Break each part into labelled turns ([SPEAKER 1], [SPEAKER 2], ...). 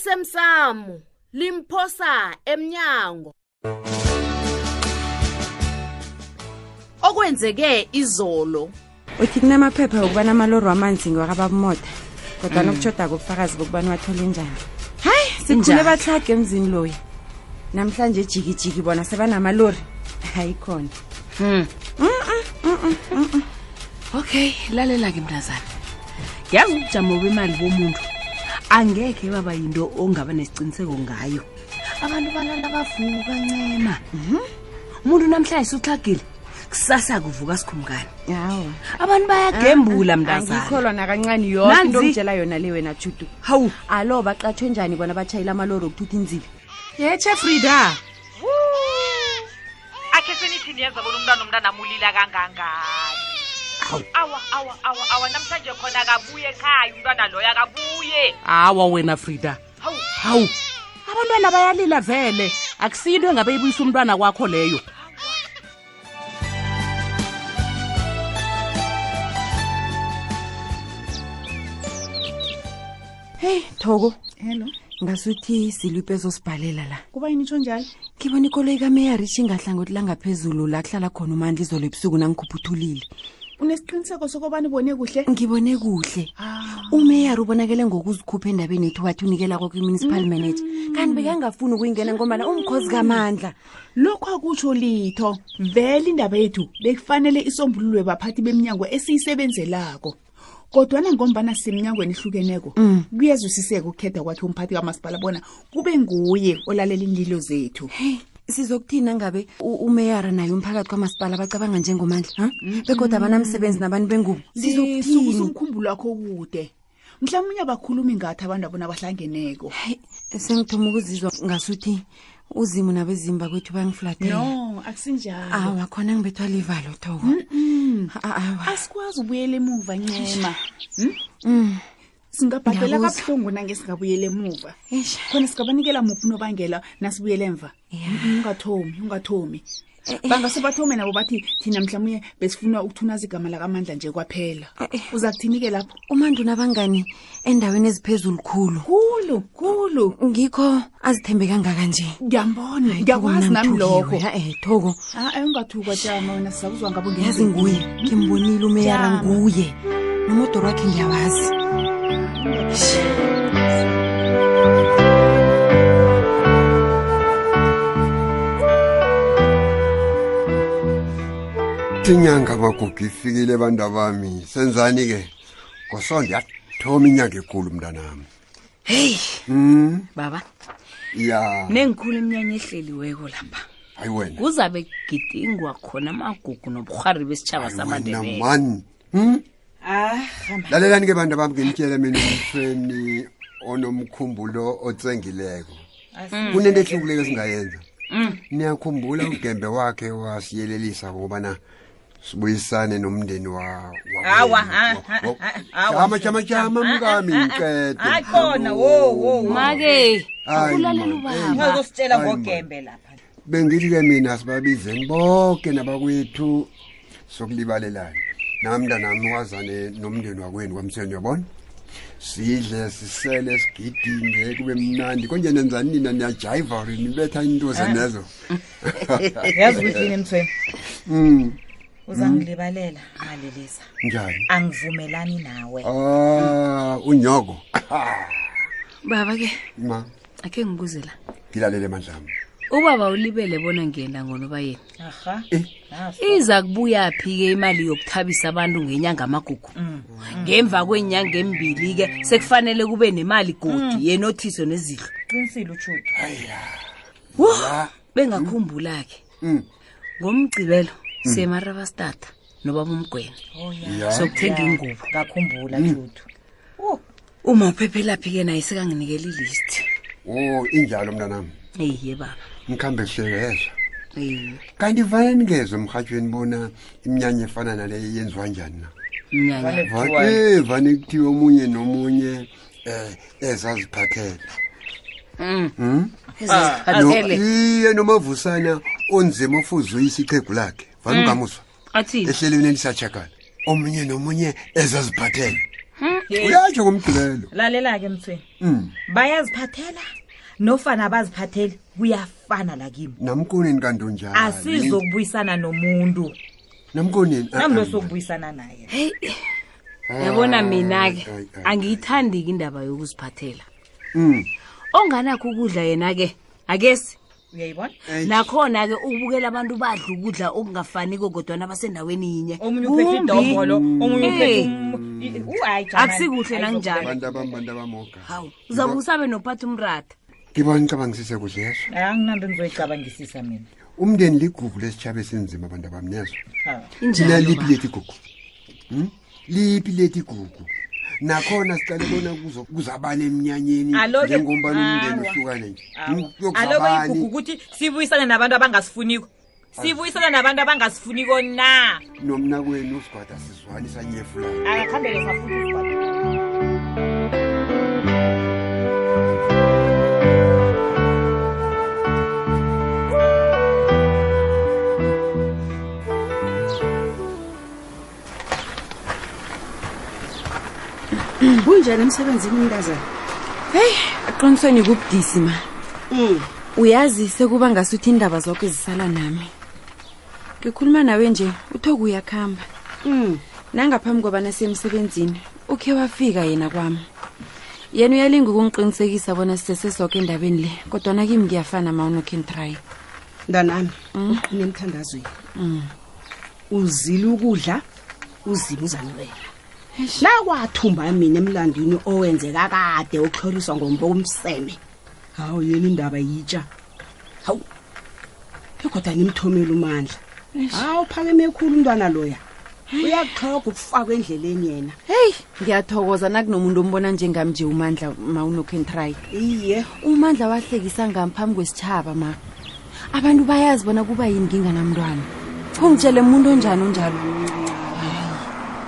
[SPEAKER 1] osemsamo limphosa emnyango okwenzeke izolo
[SPEAKER 2] uthi kunamaphepha yokubana amalori wamanzi ngwakababumoda kodwana ukuthodako ubufakazi bokubana wathole njani Mm. hayi sikhule
[SPEAKER 1] Njani?
[SPEAKER 2] bahlaga emzini loyi namhlanje jikijiki bona sebanamalori hayi khona
[SPEAKER 3] okay lalela-ke mntazana ngiyazi ubujamo bemali bomuntu angekhe baba yinto ongaba nesiciniseko ngayo abantu balala bavuka kancema Hmm? umuntu namhlanje suxhagile kusasa kuvuka sikhumkani
[SPEAKER 2] hawa
[SPEAKER 3] abantu
[SPEAKER 2] Ah,
[SPEAKER 3] bayagembula mntazana
[SPEAKER 2] angikholwa nakancane yonke into
[SPEAKER 3] Nanzi.
[SPEAKER 2] omtshela yona le wena judu
[SPEAKER 3] hawu
[SPEAKER 2] alo baqatshwe njani bona batshayela amalori okuthutha inzibi
[SPEAKER 3] yetshe frida
[SPEAKER 4] akhe senithi niyenza bona umntwana omntana amulila kangangani awa awa awa awa namhlanje khona akabuye ekhaya umntwana loyo akabuye
[SPEAKER 5] hawa wena frida
[SPEAKER 4] hawu
[SPEAKER 5] hawu abantwana bayalila vele akusiyinto engabe ibuyisa umntwana kwakho leyo
[SPEAKER 2] heyi thoko
[SPEAKER 6] hello
[SPEAKER 2] ngasuthi silwipe ezosibhalela la
[SPEAKER 6] kuba yini itsho njalo
[SPEAKER 2] ngibona ikolo ikameyarishi ingahlangothi langaphezulu la kuhlala khona umandla izolo ebusuku nangikhupha uthulile
[SPEAKER 6] unesiqiniseko sokobani ubone kuhle
[SPEAKER 2] ngibone kuhle umeyari ubonakele ngokuzikhupha endabeni yethu wathi unikela kwakho i-municipal manager kanti bekangafuni ukuyingena ngomana umkhosi kamandla
[SPEAKER 6] lokhu akutsho litho vele indaba yethu bekufanele isombululwe baphathi beminyango esiyisebenzelako kodwana ngombana seminyangweni ehlukeneko
[SPEAKER 5] Mm.
[SPEAKER 6] kuyezwisiseka ukukhethwa kwakhe umphathi kamasipala bona kube nguye olalela iinlilo zethu
[SPEAKER 2] heyi sizokuthina ngabe umeyara naye umphakathi kwamasipala bacabanga njengomandla ha bekodwa abanamsebenzi nabantu bengubo
[SPEAKER 6] lisukusa
[SPEAKER 2] sizokuthini
[SPEAKER 6] umkhumbulo wakho kude mhlawumbe abakhulumi ngathi abantu abona bahlangeneko
[SPEAKER 2] Hey, sengithoma ukuzizwa ngasuthi uzimu nabezimba kwethu bangiflatela
[SPEAKER 6] no akusinjalo
[SPEAKER 2] awa khona ngibethwa livalo toko A- awa
[SPEAKER 6] asikwazi ubuyela emuva ncema Hmm?
[SPEAKER 2] Mm.
[SPEAKER 6] singabhadela
[SPEAKER 2] Ngiyakuzwa.
[SPEAKER 6] kabuhlungu nangesingabuyela emuva
[SPEAKER 2] Eish.
[SPEAKER 6] khona singabanikela muphi unobangela nasibuyela emva
[SPEAKER 2] Ya. E,
[SPEAKER 6] Mm, mm, ungathomi ungathomi
[SPEAKER 2] Eh.
[SPEAKER 6] bangase bathome nabo bathi thina mhlawumbe besifuna ukuthunaza igama lakamandla nje kwaphela
[SPEAKER 2] Eh.
[SPEAKER 6] uza kuthini-ke lapho
[SPEAKER 2] umandu nabangani endaweni eziphezulu khulu
[SPEAKER 6] khulu khulu
[SPEAKER 2] ngikho azithembe kangaka nje
[SPEAKER 6] ngiyambona ngiyakwazi nami lokho
[SPEAKER 2] thoko
[SPEAKER 6] ae ungathukwa jama wena sizakuzwa ngabo ngenye
[SPEAKER 2] yazi
[SPEAKER 6] imini.
[SPEAKER 2] nguye ngimbonile umeyara
[SPEAKER 6] Jama.
[SPEAKER 2] nguye nomodoro wakhe ngiyawazi
[SPEAKER 7] inyanga magugu ifikile bantu bami senzani ke ngoso ndiyathoma inyanga ekhulu mntanami Hmm?
[SPEAKER 3] heyi baba
[SPEAKER 7] ya
[SPEAKER 3] nengikhulu iminyanya ehleliweko lapha
[SPEAKER 7] hayi wena
[SPEAKER 3] kuzabe kugidingwa khona amagugu nobuhari besitshaba
[SPEAKER 7] Hayi wena
[SPEAKER 3] samandebele Ah,
[SPEAKER 7] mani Hmm? lalelani ke bantu bami nginitshele mina umsweni onomkhumbulo otsengileko kunento ehlukileko esingayenza
[SPEAKER 4] Hmm.
[SPEAKER 7] niyakhumbula ugembe wakhe wasiyelelisa ngokubana sibuyisane nomndeni
[SPEAKER 4] Awa, ah, ah, ah, ah, awa.
[SPEAKER 7] wajama jama jama mkami
[SPEAKER 4] hayi
[SPEAKER 7] mqede
[SPEAKER 4] khona wo wo wo.
[SPEAKER 3] make
[SPEAKER 7] Hayi,
[SPEAKER 3] akulalela
[SPEAKER 7] ma.
[SPEAKER 3] ubaba
[SPEAKER 4] ungazositshela
[SPEAKER 7] Hayi, ma.
[SPEAKER 4] ngogembe lapha
[SPEAKER 7] bengithi-ke mina sibabizeni bonke nabakwethu sokulibalelana nami mntanami wazane nomndeni wakwenu kwamseni uyabona sidle sisele sigidinge kube mnandi konje nenzani nina niyajayiva or nibetha into
[SPEAKER 4] Eh.
[SPEAKER 7] zenezo
[SPEAKER 4] yazi kuthini mthweni
[SPEAKER 7] Mm,
[SPEAKER 4] uzangilibalela malelisa
[SPEAKER 7] njani
[SPEAKER 4] angivumelani nawe
[SPEAKER 7] ah unyoko
[SPEAKER 3] baba ke
[SPEAKER 7] ma
[SPEAKER 3] akhe ngibuze la
[SPEAKER 7] ngilalele mandlami
[SPEAKER 3] ubaba ulibele bona ngiyenda ngonoba yena
[SPEAKER 4] aha
[SPEAKER 3] iza kubuya phi-ke imali yokuthabisa abantu ngenyanga amagugu ngemva kweenyanga embili-ke sekufanele kube nemali godi yenothiso nezidlo
[SPEAKER 4] qinisile utshuto
[SPEAKER 3] wo bengakhumbula-ke ngomgcibelo semarabastata nobaba umgwena
[SPEAKER 7] ya
[SPEAKER 3] sokuthenga ingubo
[SPEAKER 4] ngakhumbula
[SPEAKER 7] Mm.
[SPEAKER 4] tshuto
[SPEAKER 3] umaphephelaphi-ke naye sekanginikela ilist
[SPEAKER 7] o injalo mntanami
[SPEAKER 3] eyiye baba
[SPEAKER 7] mkhambe kuhlekeza
[SPEAKER 3] eyiye
[SPEAKER 7] kanti vane ningezwe emrhatshweni bona iminyanya efana naleyo yenziwa njani na
[SPEAKER 3] mnyanya
[SPEAKER 7] vane eh, vane kuthiwa omunye nomunye um ezaziphathele Hmm? Ah, No-
[SPEAKER 3] Mm. ezaziphathele
[SPEAKER 7] iye nomavusana onzima ofuze uyise ichegu lakhe vane ungamuzwa
[SPEAKER 3] Mm. athini Hmm.
[SPEAKER 7] ehlelweni elisatshakala omunye nomunye ezaziphathele uyatsho ngomgqibelo
[SPEAKER 8] lalela-ke mthweni
[SPEAKER 7] Mm.
[SPEAKER 8] bayaziphathela nofana abaziphatheli kuyafana la kimi
[SPEAKER 7] namkoneni kantonjani
[SPEAKER 8] asizokubuyisana nomuntu
[SPEAKER 7] namkoneni ah,
[SPEAKER 8] namlo
[SPEAKER 7] ah,
[SPEAKER 8] sokubuyisana naye
[SPEAKER 7] eh,
[SPEAKER 3] yabona mina-ke
[SPEAKER 7] Ayi, ayi,
[SPEAKER 3] angiyithandi-ke indaba yokuziphathela
[SPEAKER 7] Mm.
[SPEAKER 3] onganakho ukudla yena-ke akesi
[SPEAKER 8] uyayibona
[SPEAKER 7] Eish.
[SPEAKER 3] nakhona-ke ukubukela abantu badla ukudla okungafaniko kodwana basendaweni yinye
[SPEAKER 8] omunye uphethe
[SPEAKER 3] Kumbi.
[SPEAKER 8] idombolo omunye uphethe
[SPEAKER 3] Eh.
[SPEAKER 8] um- i- u- hayi, jamani.
[SPEAKER 3] Akusikuhle nanjani.
[SPEAKER 7] bantu abam bantu abamoga
[SPEAKER 3] hawu uzabe usabe nophatha umrata
[SPEAKER 7] ngibona nicabangisise kuhle yeso
[SPEAKER 8] Hayi, anginanto engizoyicabangisisa mina
[SPEAKER 7] umndeni ligugu lesitshaba esinzima abantu abam yeso
[SPEAKER 8] Ha.
[SPEAKER 7] thina liphi lethi igugu Hmm? liphi lethi igugu nakhona siqale bona kuzo- kuzabala emnyanyeni
[SPEAKER 8] Aloke-
[SPEAKER 7] njengombani umndeni
[SPEAKER 8] Awa.
[SPEAKER 7] uhlukane nje Hmm?
[SPEAKER 8] Awa. aloko igugu
[SPEAKER 7] kuyokuzabani
[SPEAKER 8] ukuthi sibuyisane nabantu abangasifuniko sibuyisane nabantu abangasifuniko na
[SPEAKER 7] nomna kwenu usigwada sizwani sanyefulana
[SPEAKER 8] akakhambele safuna
[SPEAKER 5] kunjani emsebenzini mntazana
[SPEAKER 2] aqinisweni kubudisi ma Mm. uyazi sekuba ngasuthi iindaba zonke zisala nami ngikhuluma nawe nje uthoku uyakuhamba Mm. nangaphambi kobana semsebenzini ukhe wafika yena kwami yena uyalinga ukungiqinisekisa bona sisesesoke endabeni le kodwana kimi ngiyafana ma unokhin try
[SPEAKER 5] mntanami uqine emthandazweni uzile ukudla uzile uzanwela nakwathumba mina emlandwini owenzeka kade okuhloliswa ngombo kumseme hawu yena indaba yitsha hawu ekhoda nimthomela umandla hawu phakeme khulu umntwana loya uyakuxhoga ukufakwa endleleni yena
[SPEAKER 2] heyi ngiyathokoza nakunomuntu ombona njengami nje umandla ma unokhin try
[SPEAKER 5] iye
[SPEAKER 2] umandla wahlekisa ngami phambi kwesitshaba ma abantu bayazi bona kuba yini nginganamntwana kungitshele muntu onjani onjalo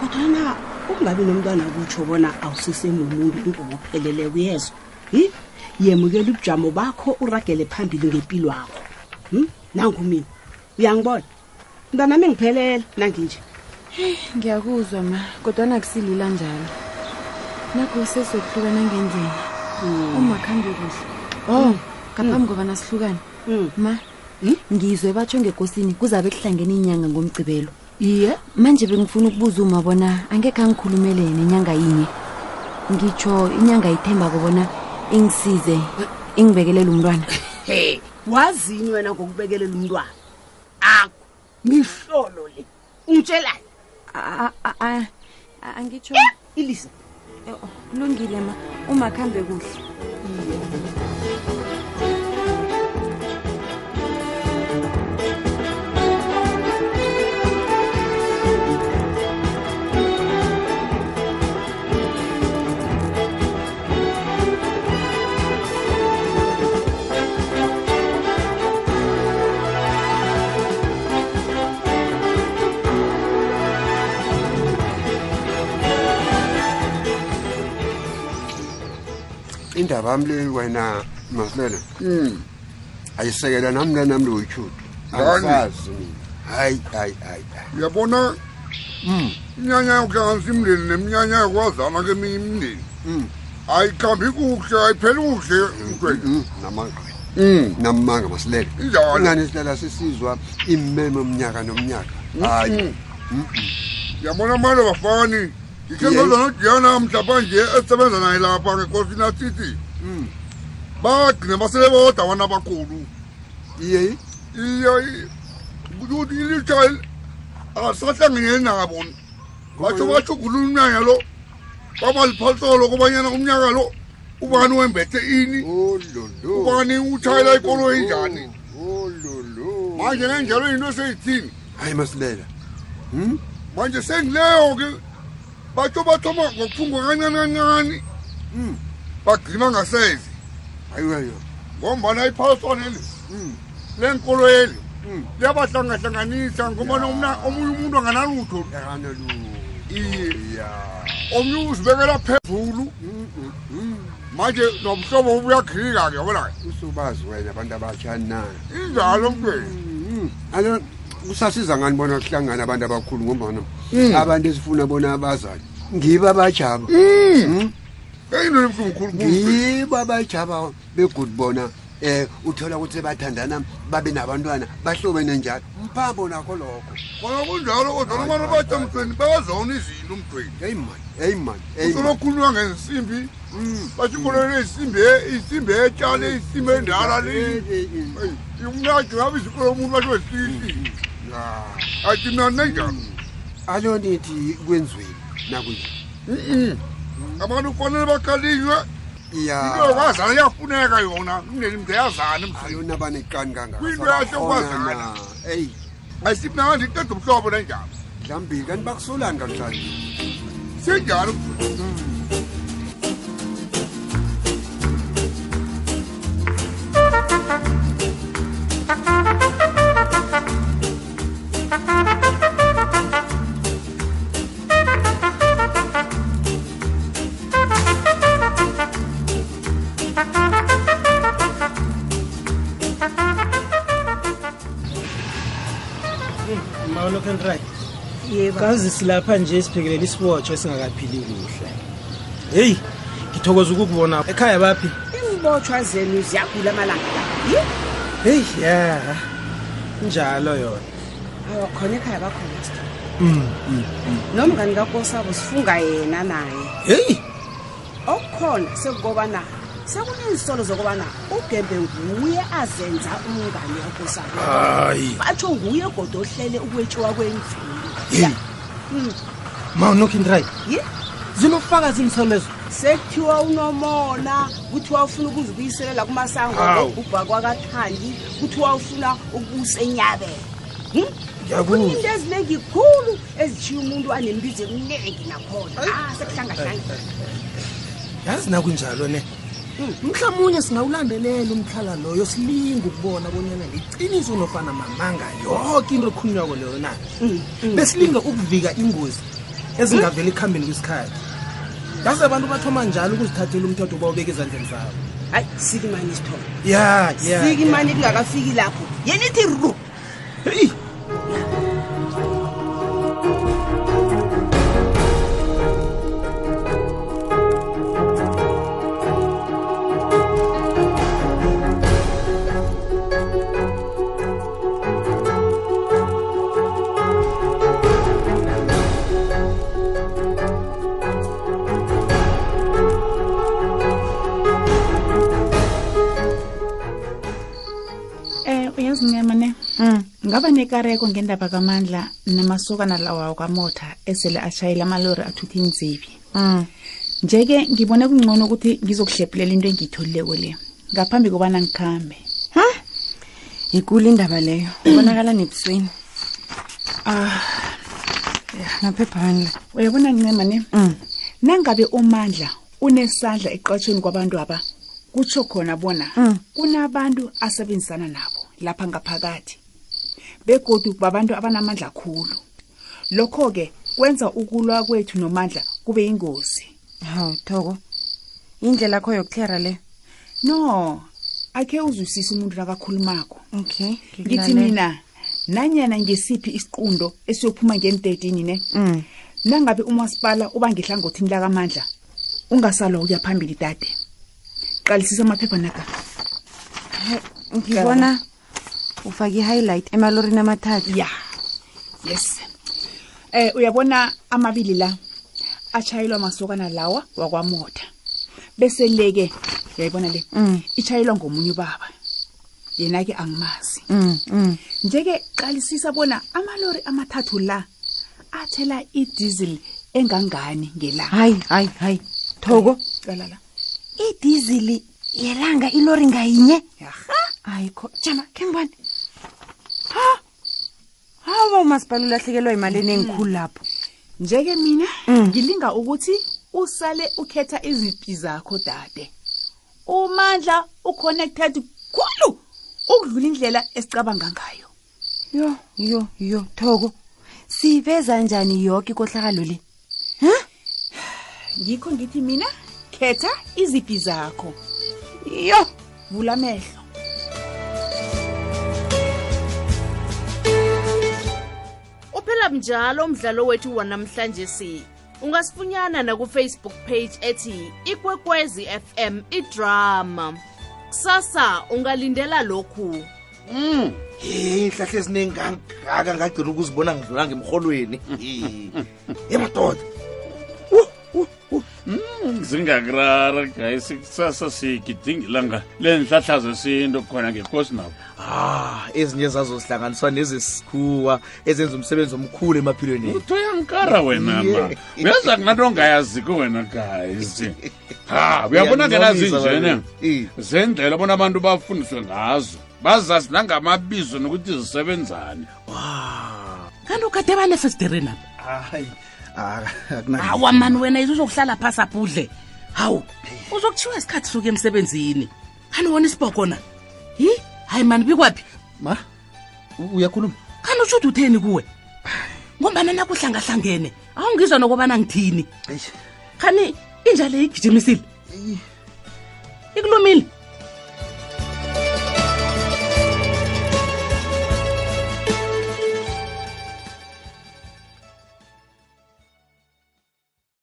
[SPEAKER 5] kodwana ukungabi nomntwana kutsho bona awusesemumuntu ngokuphelele kuyezo hi yemukela ubujamo bakho uragele phambili ngempilo yakho hm? nangumina uyangibona mntwana mengiphelela nanginje
[SPEAKER 2] ngiyakuzwa ma kodwana akusilula njalo nakho sesokuhlukana ngendlela uma khambe kuhle oh ngaphambi kobana sihlukane
[SPEAKER 5] Mm.
[SPEAKER 2] ma
[SPEAKER 5] Mm?
[SPEAKER 2] ngizwe batsho ngekosini kuzabe kuhlangene inyanga ngomgcibelo
[SPEAKER 5] iye
[SPEAKER 2] manje bengifuna ukubuza uma bona angekhe angikhulumele nenyanga yinye ngitsho inyanga ithembako bona ingisize ingibekelele umntwana
[SPEAKER 5] he wazini wena ngokubekelela umntwana akho mihlolo le ungitshelani
[SPEAKER 2] A- a- a- a- angitsho
[SPEAKER 5] ilisa
[SPEAKER 2] Eh, kulungile ma uma kuhambe kuhle
[SPEAKER 7] indaba yami le wena masilela
[SPEAKER 9] Hmm.
[SPEAKER 7] ayisekela nami mntanami lo yichudu
[SPEAKER 9] Ngani?
[SPEAKER 7] angisazi mina hayi hayi hayi hayi.
[SPEAKER 9] uyabona iminyanya yokuhlanganisa imndeni neminyanya yokwazana keminye imndeni ayikhambi kuhle ayipheli kuhle mntwena
[SPEAKER 7] Mm, namanga
[SPEAKER 9] Hmm.
[SPEAKER 7] namanga masilela
[SPEAKER 9] Injalo.
[SPEAKER 7] ingani silela sisizwa imemo mnyaka nomnyaka hayi
[SPEAKER 9] uyabona amanye bafani ngikhe
[SPEAKER 7] Yes.
[SPEAKER 9] ngizwa nodiyana mhlaphanje esebenza naye lapha ngekosini asithi bagcine basele bodwa abantu abakhulu
[SPEAKER 7] iye
[SPEAKER 9] iyo i- kusho ukuthi ilitsha akasahlanganyeli nabo batsho bashugulula umnyanya lo babaliphasolo kobanyana umnyaka lo ubani wembethe ini
[SPEAKER 7] ololo
[SPEAKER 9] ubani utshayela ikolo enjani
[SPEAKER 7] ololo
[SPEAKER 9] manje kanjalo into seyithini
[SPEAKER 7] hayi masilela
[SPEAKER 9] manje sengileyo-ke batsho bathoma ngokuthungwa kancane kancane bagcina ngaseze
[SPEAKER 7] hayi hayo
[SPEAKER 9] ngombana iphasoneli lenkoloyeli liyabahlangahlanganisa ngombana umna- omunye umuntu anganalutho iye omunye uzibekela phezulu manje nomhlobo ubuyakhika-ke yabona
[SPEAKER 7] usubazi wena abantu abatshani na
[SPEAKER 9] injalo mntweni
[SPEAKER 7] Mm. alo kusasiza ngani bona kuhlangana abantu abakhulu ngombana abantu esifuna bona abazali ngiba abajaba
[SPEAKER 9] eyinto ebuhlungu khulukhulu
[SPEAKER 7] ngibo abajaba begudi bona um uthola ukuthi bathandana babe nabantwana bahlobene njalo mphambo nakho lokho
[SPEAKER 9] khona kunjalo kodwa nomane batya mthweni bayazona izinto mthweni
[SPEAKER 7] eyi mani eyi mani eyi mani
[SPEAKER 9] usolokhulunywa ngensimbi bashikolele isimbi e, isimbi etshale isimbi endala le umnajo ngabe izikolo omuntu basho wesikilisile athi mna nenjani
[SPEAKER 7] alo nithi kwenziweni nakunje
[SPEAKER 9] abantu kufanele bakhalinywe into
[SPEAKER 7] ya
[SPEAKER 9] yokwazana iyafuneka yona umndeni mndeyazana emzini
[SPEAKER 7] alona banekani kangaka
[SPEAKER 9] Kuyinto yahle
[SPEAKER 7] sabakghona
[SPEAKER 9] ukwazana.
[SPEAKER 7] na? eyi
[SPEAKER 9] ayisibi nanganje iqeda umhlobo nenjalo
[SPEAKER 7] dlambili kanti bakusolani kamhlanje
[SPEAKER 9] sinjalo
[SPEAKER 10] Mawulokhu right.
[SPEAKER 11] yeba
[SPEAKER 10] Kazi silapha nje sibhekelela isibotsho esingakaphili kuhle. Hey, ngithokoza ukukubona. Ekhaya baphi?
[SPEAKER 11] izibotshwa zenu ziyagula amalanga la
[SPEAKER 10] Hey, yeah. Njalo yona.
[SPEAKER 11] awa khona ekhaya bakhona sithole. nomngani kakosabo sifunga yena naye
[SPEAKER 10] Hey,
[SPEAKER 11] okukhona sekukobana sekunezisolo zokubana ugembe nguye azenza umngane wakosabo
[SPEAKER 10] hayi.
[SPEAKER 11] batsho nguye goda ohlele ukwetshiwa kwemvelo
[SPEAKER 10] Hey. Mawulokhu right.
[SPEAKER 11] Ye.
[SPEAKER 10] Zinofaka zimselezo.
[SPEAKER 11] sekuthiwa unomona kuthiwa ufuna ukuzibuyiselela kumasango ubha kwakathandi kuthiwa ufuna ukubusa enyabela
[SPEAKER 10] Ngiyakuzwa.
[SPEAKER 11] into eziningi khulu ezishiya umuntu anembizo eminingi nakhona Ah, sekuhlangahlangana
[SPEAKER 10] Yazi nakunjalo ne. Mhlawumunye Eh, singawulandelela umhlala loyo silinge ukubona bonyana liqiniso nofana mamanga yonke into ekhunyako leyo na. mm. Besilinge ukuvika ingozi ezingavela ekuhambeni kwesikhathi. Yazi abantu bathoma njalo ukuzithathela umthetho bawubeka ezandleni zabo.
[SPEAKER 11] hayi siki mani isithole
[SPEAKER 10] Ya, ya.
[SPEAKER 11] siki mani kungakafiki lapho yena ithi ru
[SPEAKER 10] Hey.
[SPEAKER 5] um uyazincema ne ngaba nekareko ngendaba kamandla namasokana lawawo kamotha esele ashayela amalori athutha inzibi nje-ke ngibone kungcono ukuthi ngizokuhlephulela into engiyitholileko le ngaphambi kobana ngikhambe
[SPEAKER 2] yikulu indaba leyo ubonakala nebusweni ah naphebhandle
[SPEAKER 5] uyabona ncema ne
[SPEAKER 2] Mm.
[SPEAKER 5] nangabe umandla unesandla eqatshweni kwabantu aba kutsho khona bona kunabantu asebenzisana nabo lapha ngaphakathi begodu babantu abanamandla khulu lokho-ke kwenza ukulwa kwethu nomandla kube yingozi
[SPEAKER 2] hawu thoko indlela kho yokuhlera leyo
[SPEAKER 5] no akhe uzwisise umuntu nakakhulumako
[SPEAKER 2] okay
[SPEAKER 5] ngithi mina nanyana ngesiphi isiqundo esiyophuma ngeni-13 ne
[SPEAKER 2] Mm.
[SPEAKER 5] nangabe umasipala uba ngehlangothini lakamandla ungasalwa ukuya phambili dade qalisisa amaphepha naga
[SPEAKER 2] ngibona ufake i-highlight emalorini amathathu
[SPEAKER 5] ya yes eh uyabona amabili la atshayelwa masokana lawa wakwamotha bese le-ke uyayibona le
[SPEAKER 2] Mm.
[SPEAKER 5] itshayelwa ngomunye ubaba yena-ke angimazi
[SPEAKER 2] Mm, mm.
[SPEAKER 5] njeke qalisisa bona amalori amathathu la athela idiesel engangani ngelanga
[SPEAKER 2] hayi hayi hayi thoko
[SPEAKER 5] cala la
[SPEAKER 2] idizili yelanga ilori ngayinye
[SPEAKER 5] yarha
[SPEAKER 2] ayikho jama khe ngibone Ha! hawa umasipala ulahlekelwa yimalini engikhulu lapho
[SPEAKER 5] njeke mina
[SPEAKER 2] Mm.
[SPEAKER 5] ngilinga ukuthi usale ukhetha izipi zakho dade umandla uconnected khulu ukudlula indlela esicabanga ngayo
[SPEAKER 2] yo yo yo thoko siveza njani yoke ikohlakalo le
[SPEAKER 5] ngikho ngithi mina khetha izipi zakho
[SPEAKER 2] yo
[SPEAKER 5] vula amehlo
[SPEAKER 6] uphela njalo umdlalo wethu wanamhlanje si ungasifunyana nakufacebook page ethi ikwekwezi fm idrama kusasa ungalindela lokhu
[SPEAKER 10] mm. heyi hlahle eziningi kangaka ngagcina ukuzibona ngidlula ngemrholweni emadoda
[SPEAKER 9] Hmm, zingakurara gayisi kusasa sigidingilanga lenhlahla zesinto khona ngekosi nabo
[SPEAKER 10] ah ezinye zazo zihlanganiswa nezesikhuwa ezenza umsebenzi omkhulu emaphilweni ethu
[SPEAKER 9] kara wena ma uyaza kunganto ongayaziko wena gayisi ha uyabona ngena
[SPEAKER 10] Uyangincomisa
[SPEAKER 9] zinjene
[SPEAKER 10] wena.
[SPEAKER 9] zendlela bona abantu bafundiswe ngazo bazazi nangamabizo nokuthi zisebenzane
[SPEAKER 5] kanti ukade banefesidereni apha
[SPEAKER 10] hayi ah,
[SPEAKER 5] hawa mani wena yizo uzokuhlala phasi apha udle hawu uzokuthiwa isikhathi suke emsebenzini kanti wona isibhokona yi hayi mani bikwaphi
[SPEAKER 10] ma uyakhuluma
[SPEAKER 5] kanti utshude utheni kuwe ngombana nakuhlangahlangene awungizwa nokobana ngithini khani inja le igijimisile ikulumile